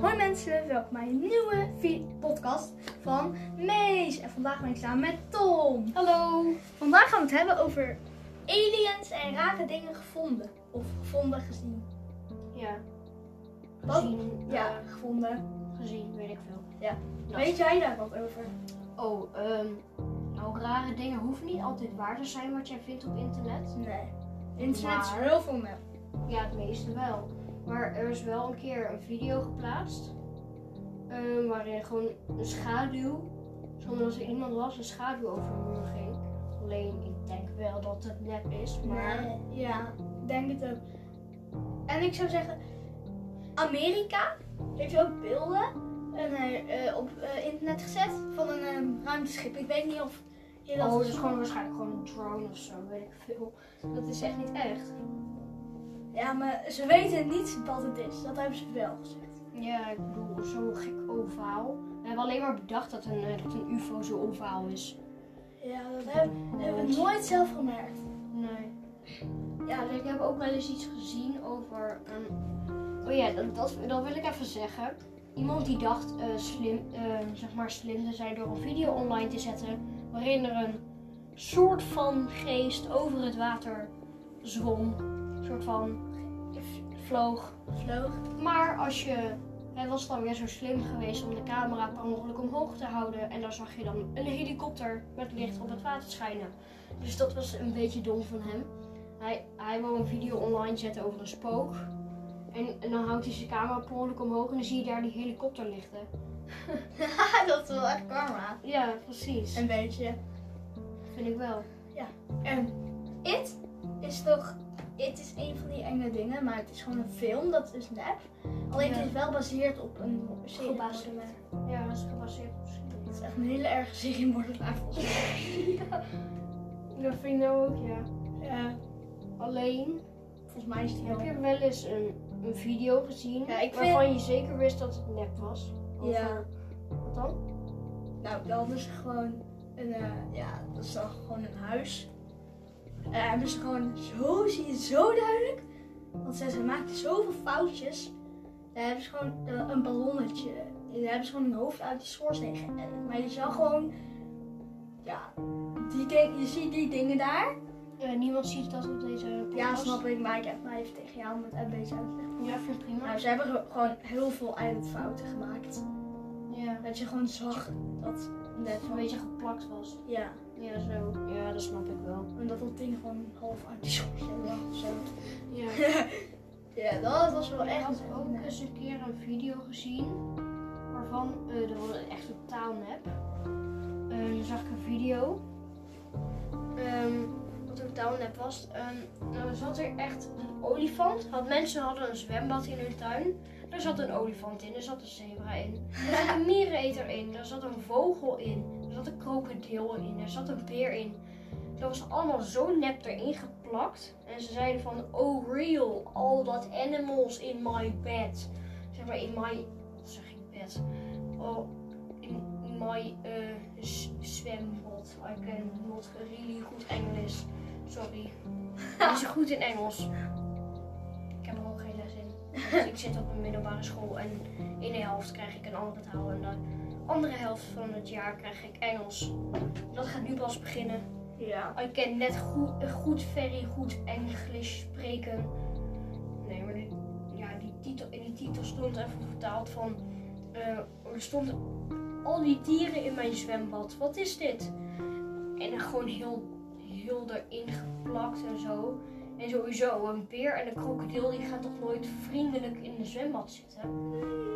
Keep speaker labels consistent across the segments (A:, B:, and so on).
A: Hoi mensen, welkom bij een nieuwe vi- podcast van Mees. En vandaag ben ik samen met Tom.
B: Hallo.
A: Vandaag gaan we het hebben over aliens en rare dingen gevonden. Of gevonden gezien.
B: Ja.
A: Wat?
B: Gezien.
A: Ja,
B: Ja.
A: gevonden.
B: gezien, weet ik veel. Ja.
A: Weet jij daar wat over?
B: Oh, ehm. nou, rare dingen hoeven niet altijd waar te zijn wat jij vindt op internet.
A: Nee. Internet is
B: Maar-
A: heel veel nep.
B: Ja, het meeste wel. Maar er is wel een keer een video geplaatst. ehm, waarin gewoon een schaduw, zonder dat er iemand was, een schaduw over een muur ging. Alleen, ik denk wel dat het nep is, maar...
A: Nee, ja, ik denk het ook. En ik zou zeggen, Amerika heeft ook beelden en, eh, eh, op eh, internet gezet van een eh, ruimteschip. Ik weet niet of je dat...
B: Oh, het is gewoon waarschijnlijk gewoon een drone of zo, weet ik veel. Dat is echt niet echt.
A: Ja, maar ze weten niet wat het is. Dat hebben ze wel gezegd.
B: Ja, ik bedoel, zo'n gek ovaal. We hebben alleen maar bedacht dat een, eh, dat een UFO zo ovaal is.
A: Ja, dat hebben, dat hebben we nooit zelf gemerkt.
B: Nee. Ja, dus ik heb ook wel eens iets gezien over. een Oh ja, dat, dat, dat wil ik even zeggen. Iemand die dacht eh, slim, eh, zeg maar slim te zijn door een video online te zetten. waarin er een soort van geest over het water zwom. Een soort van vloog.
A: Vloog.
B: Maar als je. Hij was dan weer zo slim geweest om de camera per ongeluk omhoog te houden. En daar zag je dan een helikopter met licht op het water schijnen. Dus dat was een beetje dom van hem. Hij, hij wil een video online zetten over een spook. En, en dan houdt hij zijn camera per ongeluk omhoog en dan zie je daar die helikopter lichten.
A: dat is wel echt karma.
B: Ja, precies.
A: Een beetje.
B: Vind ik wel.
A: En It is toch... It is een van die enge dingen, maar het is gewoon een film. Dat is nep. Alleen
B: Ja.
A: het is wel gebaseerd op een serie.
B: Gebaseerd. Ja, dat is gebaseerd op
A: Het is echt een hele erge serie moordenaar volgens mij.
B: Dat vind ik nou ook, ja.
A: Ja,
B: Alleen,
A: volgens mij is die
B: Heb
A: heel...
B: je wel eens een, een video gezien
A: Ja, ik
B: waarvan je zeker wist dat het nep was? Of,
A: Ja.
B: eh, Wat dan?
A: Nou, dan is gewoon een, eh, ja, dat is dan gewoon een huis. Eh, en dus gewoon zo, zie je het zo duidelijk. Want ze, ze maakten zoveel foutjes. Daar hebben ze gewoon eh, een ballonnetje. Daar hebben ze gewoon een hoofd uit die schoorsteen geëdit. Maar je zag gewoon, ja, die ding, je ziet die dingen daar.
B: Eh, niemand ziet dat op deze
A: Ja,
B: podcast.
A: snap ik, maar ik heb mij even tegen jou om het een beetje uit te leggen.
B: Ja, vind ik prima.
A: Nou, ze hebben ge- gewoon heel veel editfouten gemaakt.
B: Ja.
A: Dat je gewoon zag dat net
B: Dat het een beetje geplakt was.
A: Ja.
B: Ja, zo. Ja, dat snap ik wel.
A: En dat dat ding gewoon half uit die schoorsteen lag of zo.
B: Ja.
A: ja, dat was wel
B: Ik
A: echt
B: had ook eens een keer een video gezien waarvan eh dat was echt totaal nep. Eh, dan zag ik een video ehm, wat totaal nep was. Ehm, nou, er zat er echt een olifant. Had, mensen hadden een zwembad in hun tuin. Daar zat een olifant in, er zat een zebra in, er zat een miereneter in, er zat een vogel in, er zat een krokodil in, er zat een beer in. Dat was allemaal zo nep erin geplakt. En ze zeiden van, oh real, all that animals in my bed. Zeg maar in my, wat zeg ik bed? Oh, in my eh, z- zwembad. I can not really goed Engels. Sorry. Ik ben niet zo goed in Engels. Ik heb er ook geen les in. Want ik zit op een middelbare school en in de helft krijg ik een andere taal. En de andere helft van het jaar krijg ik Engels. Dat gaat nu pas beginnen.
A: Ja.
B: Oh, Ik kan net goed, goed very goed Engels spreken. Nee, maar die, ja, die titel, in die titel stond even vertaald van... eh, er stond al die dieren in mijn zwembad. Wat is dit? En dan gewoon heel, heel erin geplakt en zo. En sowieso, een beer en een krokodil die gaan toch nooit vriendelijk in een zwembad zitten?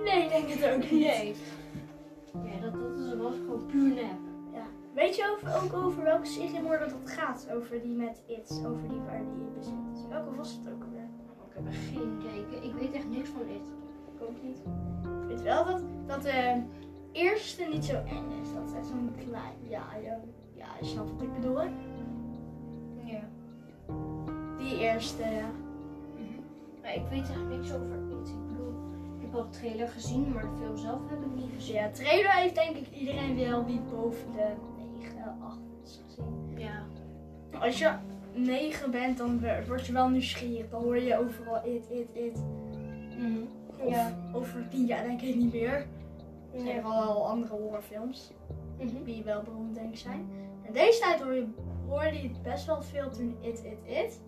A: Nee, ik denk het ook niet.
B: Nee. Ja, dat, dat is, was gewoon puur nep.
A: Ja. Weet je over, ook over welke seriemoord dat het gaat? Over die met It, over die waar die in bezit. Welke was het ook alweer?
B: Ik heb echt geen idee. Ik- Ik weet echt niks van dit.
A: Ik ook niet. Ik weet wel dat, dat de eerste niet zo eng is. Dat is echt zo'n klein... Ja, ja, ja, je snapt wat ik bedoel.
B: Ja.
A: Die eerste, ja.
B: Maar Mhm. ik weet echt niks over It. Ik bedoel, ik heb wel de trailer gezien, maar de film zelf heb ik niet
A: Dus
B: gezien.
A: ja, trailer heeft denk ik iedereen wel die boven de 9, 8 is gezien.
B: Ja.
A: Als je 9 bent, dan wer- word je wel nieuwsgierig. Dan hoor je overal it, it, it. Of
B: Mhm. Ja.
A: over tien jaar denk ik niet meer. Er zijn
B: Ja. Mhm.
A: al wel andere horrorfilms die wel beroemd denk ik zijn. En deze tijd hoor je, hoorde je het best wel veel toen It, It, It.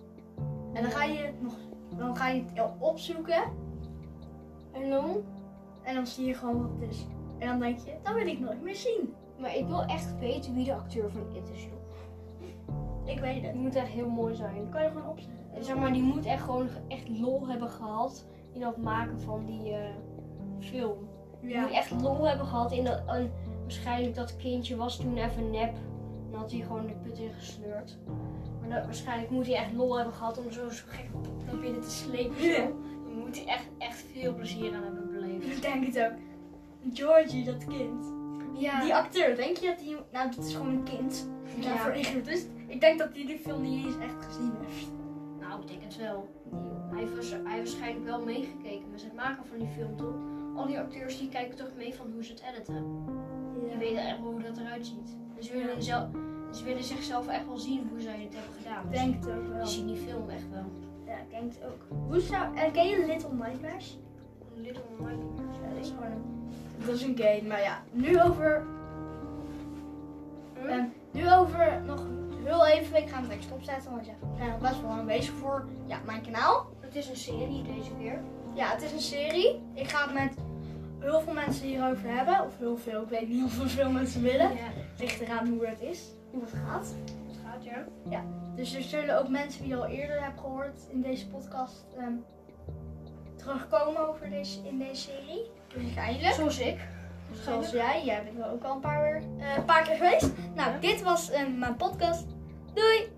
A: En dan ga je het, nog, dan ga je het opzoeken
B: En dan?
A: en dan zie je gewoon wat het is. En dan denk je, dat wil ik nooit meer zien.
B: Maar ik wil echt weten wie de acteur van It is, joh.
A: Ik weet het.
B: Die moet echt heel mooi zijn.
A: Dan kan je gewoon opzoeken.
B: Zeg maar, die moet echt gewoon echt lol hebben gehad in dat maken van die eh, film. Die moet
A: Ja.
B: echt lol hebben gehad in dat... en waarschijnlijk dat kindje was toen even nep. En had hij gewoon de put in gesleurd. Maar dat, waarschijnlijk moet hij echt lol hebben gehad om zo, zo gek naar binnen te slepen. of zo.
A: Ja.
B: Dan moet hij echt, echt veel plezier aan hebben beleefd.
A: Ik denk het ook. Georgie, dat kind.
B: Ja.
A: Die acteur, denk je dat die... Nou, dat is gewoon een kind.
B: Ja.
A: Daarvoor ingehuurd. Dus ik denk dat die die film niet eens echt gezien heeft.
B: Nou, ik denk het wel. Hij heeft, waarsch- hij heeft waarschijnlijk wel meegekeken met het maken van die film, toch? Al die acteurs die kijken toch mee van hoe ze het editen. Die
A: Ja.
B: weten echt wel hoe dat eruit ziet. Dus ze willen, zelf, ze willen zichzelf echt wel zien hoe zij het hebben gedaan.
A: Ik
B: Dus
A: denk het ook
B: die
A: wel.
B: zien die film echt wel.
A: Ja, ik denk het ook. Hoe zou... eh, ken je Little Nightmares?
B: Little Nightmares.
A: Ja, dat is gewoon een... Dat is een game, maar ja. Nu over... ehm, nu over nog heel even. Ik ga hem direct stopzetten, want ja, ik ben nog best wel lang bezig voor ja, mijn kanaal.
B: Het is een serie deze keer.
A: Ja, het is een serie. Ik ga het met heel veel mensen hierover hebben. Of heel veel, ik weet niet of er veel mensen willen. Het ligt eraan hoe het is, hoe het gaat.
B: het gaat ja.
A: Dus er zullen ook mensen die je al eerder hebt gehoord in deze podcast ehm, terugkomen over deze, in deze serie. Waarschijnlijk.
B: Zoals ik.
A: Zoals jij, jij bent wel ook al een paar, weer- eh, een paar keer geweest. Nou, dit was ehm, mijn podcast. Doei!